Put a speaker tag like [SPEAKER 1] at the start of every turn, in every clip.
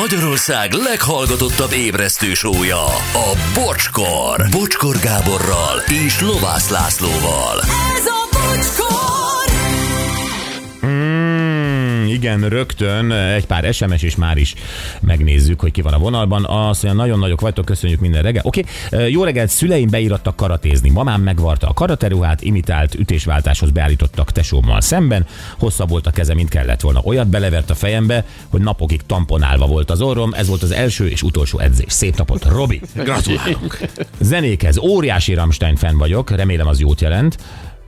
[SPEAKER 1] Magyarország leghallgatottabb ébresztő sója, a Bocskor. Bocskor Gáborral és Lovász Lászlóval.
[SPEAKER 2] Ez a bocskor!
[SPEAKER 3] Mm, igen, rögtön egy pár SMS, és már is megnézzük, hogy ki van a vonalban. Azt mondja, nagyon nagyok vagytok, köszönjük minden reggel. Oké, okay. jó reggelt, szüleim beírattak karatézni. Mamám megvarta a karateruhát, imitált ütésváltáshoz beállítottak tesómmal szemben. Hosszabb volt a keze, mint kellett volna. Olyat belevert a fejembe, hogy napokig tamponálva volt az orrom. Ez volt az első és utolsó edzés. Szép napot, Robi! Gratulálunk! Zenékhez, óriási Rammstein fan vagyok, remélem az jót jelent.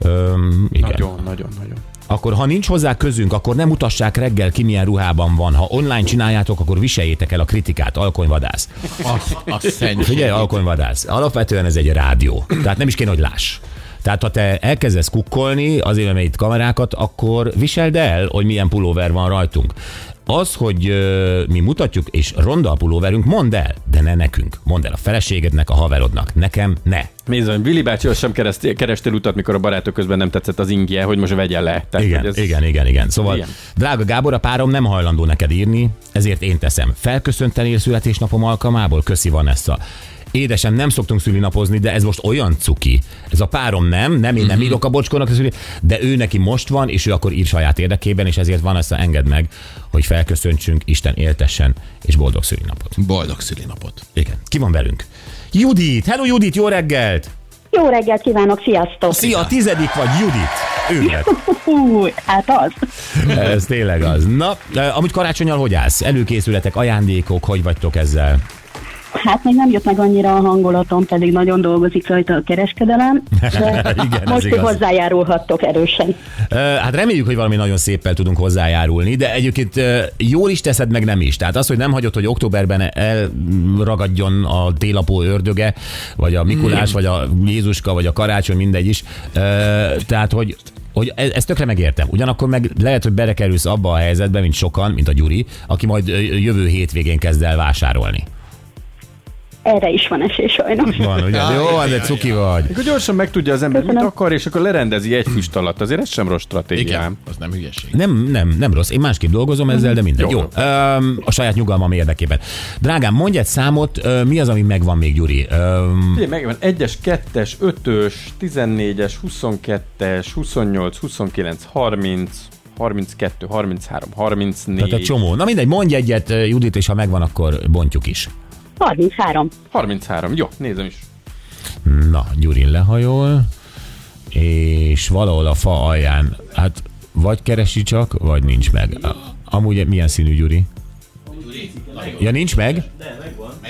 [SPEAKER 3] Öm, igen.
[SPEAKER 4] Nagyon, nagyon, nagyon.
[SPEAKER 3] akkor ha nincs hozzá közünk, akkor nem mutassák reggel ki milyen ruhában van. Ha online csináljátok, akkor viseljétek el a kritikát, alkonyvadász.
[SPEAKER 4] Az, az szenny.
[SPEAKER 3] Figyelj, alkonyvadász. Alapvetően ez egy rádió, tehát nem is kéne, hogy láss. Tehát ha te elkezdesz kukkolni, azért mert itt kamerákat, akkor viseld el, hogy milyen pulóver van rajtunk. Az, hogy ö, mi mutatjuk, és ronda a pulóverünk, mondd el, de ne nekünk. Mondd el a feleségednek, a haverodnak. Nekem ne.
[SPEAKER 4] Bizony, Billy bácsi azt sem kereszt- kerestél utat, mikor a barátok közben nem tetszett az ingje, hogy most vegye le. Tehát,
[SPEAKER 3] Igen,
[SPEAKER 4] hogy
[SPEAKER 3] ez... igen, igen, igen. Szóval,
[SPEAKER 4] Ilyen.
[SPEAKER 3] igen. drága Gábor, a párom nem hajlandó neked írni, ezért én teszem. Felköszöntenél születésnapom alkalmából? Köszi van ezt a... Édesem, nem szoktunk szülinapozni, de ez most olyan cuki. Ez a párom nem, nem én nem írok a bocskornak, a szüli- de ő neki most van, és ő akkor ír saját érdekében, és ezért van ezt, engedd meg, hogy felköszöntsünk, Isten éltessen, és boldog szülinapot.
[SPEAKER 5] Boldog szülinapot.
[SPEAKER 3] Igen. Ki van velünk? Judit! Hello Judit, jó reggelt!
[SPEAKER 6] Jó reggelt kívánok, sziasztok!
[SPEAKER 3] Szia, tizedik vagy, Judit! Őrület!
[SPEAKER 6] Hú, hát az.
[SPEAKER 3] Ez tényleg az. Na, eh, amúgy karácsonyal hogy állsz? Előkészületek, ajándékok, hogy vagytok ezzel?
[SPEAKER 6] Hát még nem jött meg annyira a hangulatom, pedig nagyon dolgozik rajta a kereskedelem. De
[SPEAKER 3] Igen, ez
[SPEAKER 6] most ti
[SPEAKER 3] igaz.
[SPEAKER 6] hozzájárulhattok erősen.
[SPEAKER 3] Eh, Hát reméljük, hogy valami nagyon széppel tudunk hozzájárulni, de egyébként eh, jól is teszed, meg nem is. Tehát az, hogy nem hagyod, hogy októberben elragadjon a télapó ördöge, vagy a Mikulás, vagy a Jézuska, vagy a karácsony, mindegy is. Eh, Tehát, hogy hogy e- ezt tökre megértem. Ugyanakkor meg lehet, hogy belekerülsz abba a helyzetbe, mint sokan, mint a Gyuri, aki majd ö, jövő hétvégén kezd el vásárolni.
[SPEAKER 6] Erre is van esély sajnos.
[SPEAKER 3] Van, ugye?
[SPEAKER 5] Jaj,
[SPEAKER 3] Jó,
[SPEAKER 5] jaj,
[SPEAKER 3] de cuki vagy.
[SPEAKER 4] Akkor gyorsan megtudja az ember, mit
[SPEAKER 6] Köszönöm.
[SPEAKER 4] akar, és akkor lerendezi egy füst alatt. Azért ez sem rossz
[SPEAKER 5] Igen,
[SPEAKER 4] stratégiám.
[SPEAKER 5] az nem hülyeség.
[SPEAKER 3] Nem, nem, nem rossz. Én másképp dolgozom ezzel, de mindegy.
[SPEAKER 4] Jó.
[SPEAKER 3] Jó. Öm, a saját nyugalmam érdekében. Drágám, mondj egy számot, ö, mi az, ami megvan még, Gyuri? Öm,
[SPEAKER 4] Figyelj, megvan 1-es, 2-es, 5-ös, 14-es, 22-es, 28, 29, 30, 32, 33, 34.
[SPEAKER 3] tehát egy csomó. Na mindegy, mondj egyet, ö, Judit, és ha megvan, akkor bontjuk is.
[SPEAKER 6] 33.
[SPEAKER 4] 33, jó, nézem is.
[SPEAKER 3] Na, Gyurin lehajol, és valahol a fa alján, hát vagy keresi csak, vagy nincs meg. A- Amúgy milyen színű, Gyuri? Ja, nincs meg?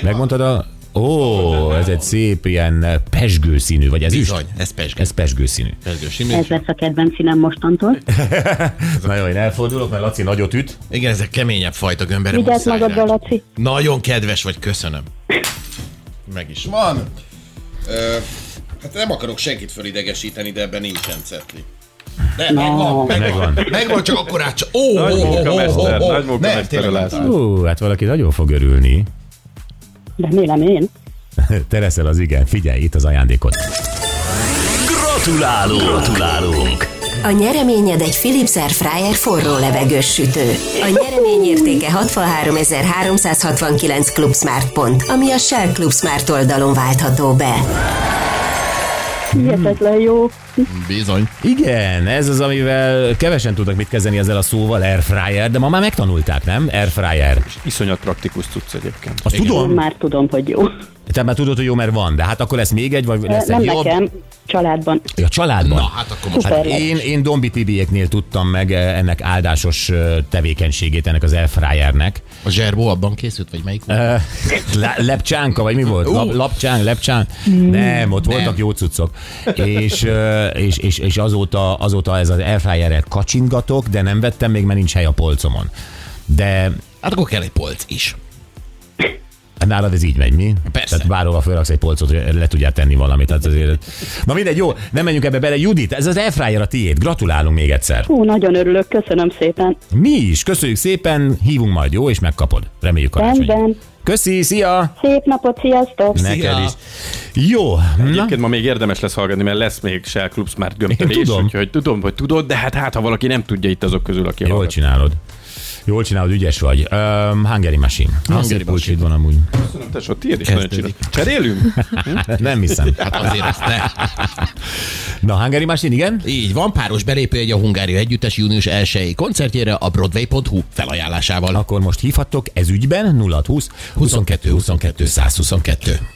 [SPEAKER 3] Megmondtad a... Ó, ez egy szép ilyen pesgő színű, vagy ez is?
[SPEAKER 5] Bizony, ez pesgő.
[SPEAKER 3] Ez pesgő színű.
[SPEAKER 5] pesgő simű.
[SPEAKER 6] Ez lesz a kedvenc színem mostantól.
[SPEAKER 3] Na jó, én elfordulok, mert Laci nagyot üt.
[SPEAKER 5] Igen, ez egy keményebb fajta gömbere.
[SPEAKER 6] Vigyázz
[SPEAKER 5] muszáj
[SPEAKER 6] magadra,
[SPEAKER 5] rá.
[SPEAKER 6] Laci.
[SPEAKER 5] Nagyon kedves vagy, köszönöm. Meg is van. Ö, hát nem akarok senkit fölidegesíteni, de ebben nincsen cetli. De megvan, megvan,
[SPEAKER 3] Megvan.
[SPEAKER 5] megvan, csak akkor át csak... Ó, ó,
[SPEAKER 4] Nagy
[SPEAKER 5] ó, ó, ó,
[SPEAKER 4] munkamester,
[SPEAKER 5] ó,
[SPEAKER 4] nagy
[SPEAKER 5] Nem,
[SPEAKER 4] munkamester
[SPEAKER 5] tényleg
[SPEAKER 4] a
[SPEAKER 5] nem
[SPEAKER 4] László.
[SPEAKER 5] tudom.
[SPEAKER 3] Ó, hát valaki nagyon fog örülni.
[SPEAKER 6] Remélem én.
[SPEAKER 3] Te leszel az igen, figyelj, itt az ajándékot.
[SPEAKER 1] Gratulálunk! Gratulálunk!
[SPEAKER 2] A nyereményed egy Philips Airfryer forró levegős sütő. A nyeremény értéke 63.369 Club Smart pont, ami a Shell Club Smart oldalon váltható be.
[SPEAKER 3] Hmm.
[SPEAKER 6] Hihetetlen jó.
[SPEAKER 5] Bizony.
[SPEAKER 3] Igen, ez az, amivel kevesen tudnak mit kezdeni ezzel a szóval, airfryer, de ma már megtanulták, nem? Airfryer.
[SPEAKER 4] Iszonyat praktikus cucc egyébként.
[SPEAKER 3] Azt
[SPEAKER 6] Én
[SPEAKER 3] tudom,
[SPEAKER 6] már tudom, hogy jó.
[SPEAKER 3] te már tudod, hogy jó, mert van, de hát akkor lesz még egy, vagy lesz
[SPEAKER 6] Nem
[SPEAKER 3] egy jobb.
[SPEAKER 6] nekem, családban.
[SPEAKER 3] Ja, családban.
[SPEAKER 5] Na, hát akkor most...
[SPEAKER 3] Hát
[SPEAKER 6] Szuper lett.
[SPEAKER 3] én, én Dombi Tibiéknél tudtam meg eh, ennek áldásos eh, tevékenységét, ennek az airfryernek.
[SPEAKER 5] A zserbó abban készült, vagy melyik?
[SPEAKER 3] Eh, le- Lepcsánka, vagy mi volt? Lap, lapcsánk, lepcsánk? Nem, ott voltak jó cuccok. És, eh, és, és, és azóta, azóta ez az airfryerrel kacsingatok, de nem vettem még, mert nincs hely a polcomon. De hát
[SPEAKER 5] Hát akkor kell egy polc is.
[SPEAKER 3] nálad ez így megy, mi?
[SPEAKER 5] Persze.
[SPEAKER 3] Tehát bárhova felraksz egy polcot, hogy le tudjál tenni valamit. Tehát azért... Na mindegy, jó, nem menjünk ebbe bele. Judit, ez az airfryer a tiéd. Gratulálunk még egyszer.
[SPEAKER 6] Hú, nagyon örülök, köszönöm szépen.
[SPEAKER 3] Mi is, köszönjük szépen, hívunk majd, jó? És megkapod. Reméljük karácsony.
[SPEAKER 6] Rendben.
[SPEAKER 3] Köszi, szia!
[SPEAKER 6] Szép napot, sziasztok!
[SPEAKER 3] Neked is. Jó, na,
[SPEAKER 4] Egyébként ma még érdemes lesz hallgatni, mert lesz még Shell Club Smart gömbölés,
[SPEAKER 3] Én tudom.
[SPEAKER 4] úgyhogy tudom, hogy tudod, de hát hát, ha valaki nem tudja itt azok közül, aki
[SPEAKER 3] jól
[SPEAKER 4] hallgat.
[SPEAKER 3] csinálod. Jól csinálod, ügyes vagy. Um, Hungary Machine. Hungary Machine. van amúgy.
[SPEAKER 4] Szerintem, tesó, tiéd is nagyon csinál. Cserélünk?
[SPEAKER 3] Nem hiszem.
[SPEAKER 5] Hát azért azt ne.
[SPEAKER 3] Na, Hungary Machine, igen?
[SPEAKER 5] Így van, páros belépőjegy a Hungária Együttes június 1 koncertjére a Broadway.hu felajánlásával.
[SPEAKER 3] Akkor most hívhattok ez ügyben 0620
[SPEAKER 5] 22 22 122.